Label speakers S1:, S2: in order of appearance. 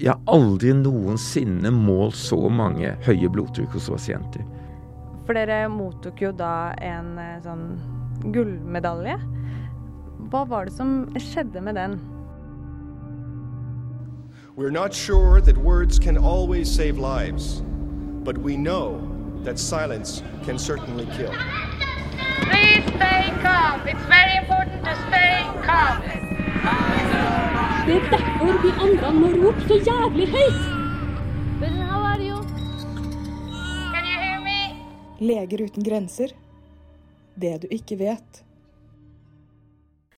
S1: Jeg har aldri noensinne målt så mange høye blodtrykk hos pasienter.
S2: For dere mottok jo da en eh, sånn gullmedalje. Hva var det som skjedde med den?
S3: We're not sure that words can always save lives, but we know that silence can certainly kill.
S4: Please stay calm. It's very important to stay calm.
S5: Det er derfor de andre må rope så jævlig høyt.
S4: Can you hear me?
S6: Leger uten grenser. Det du ikke vet.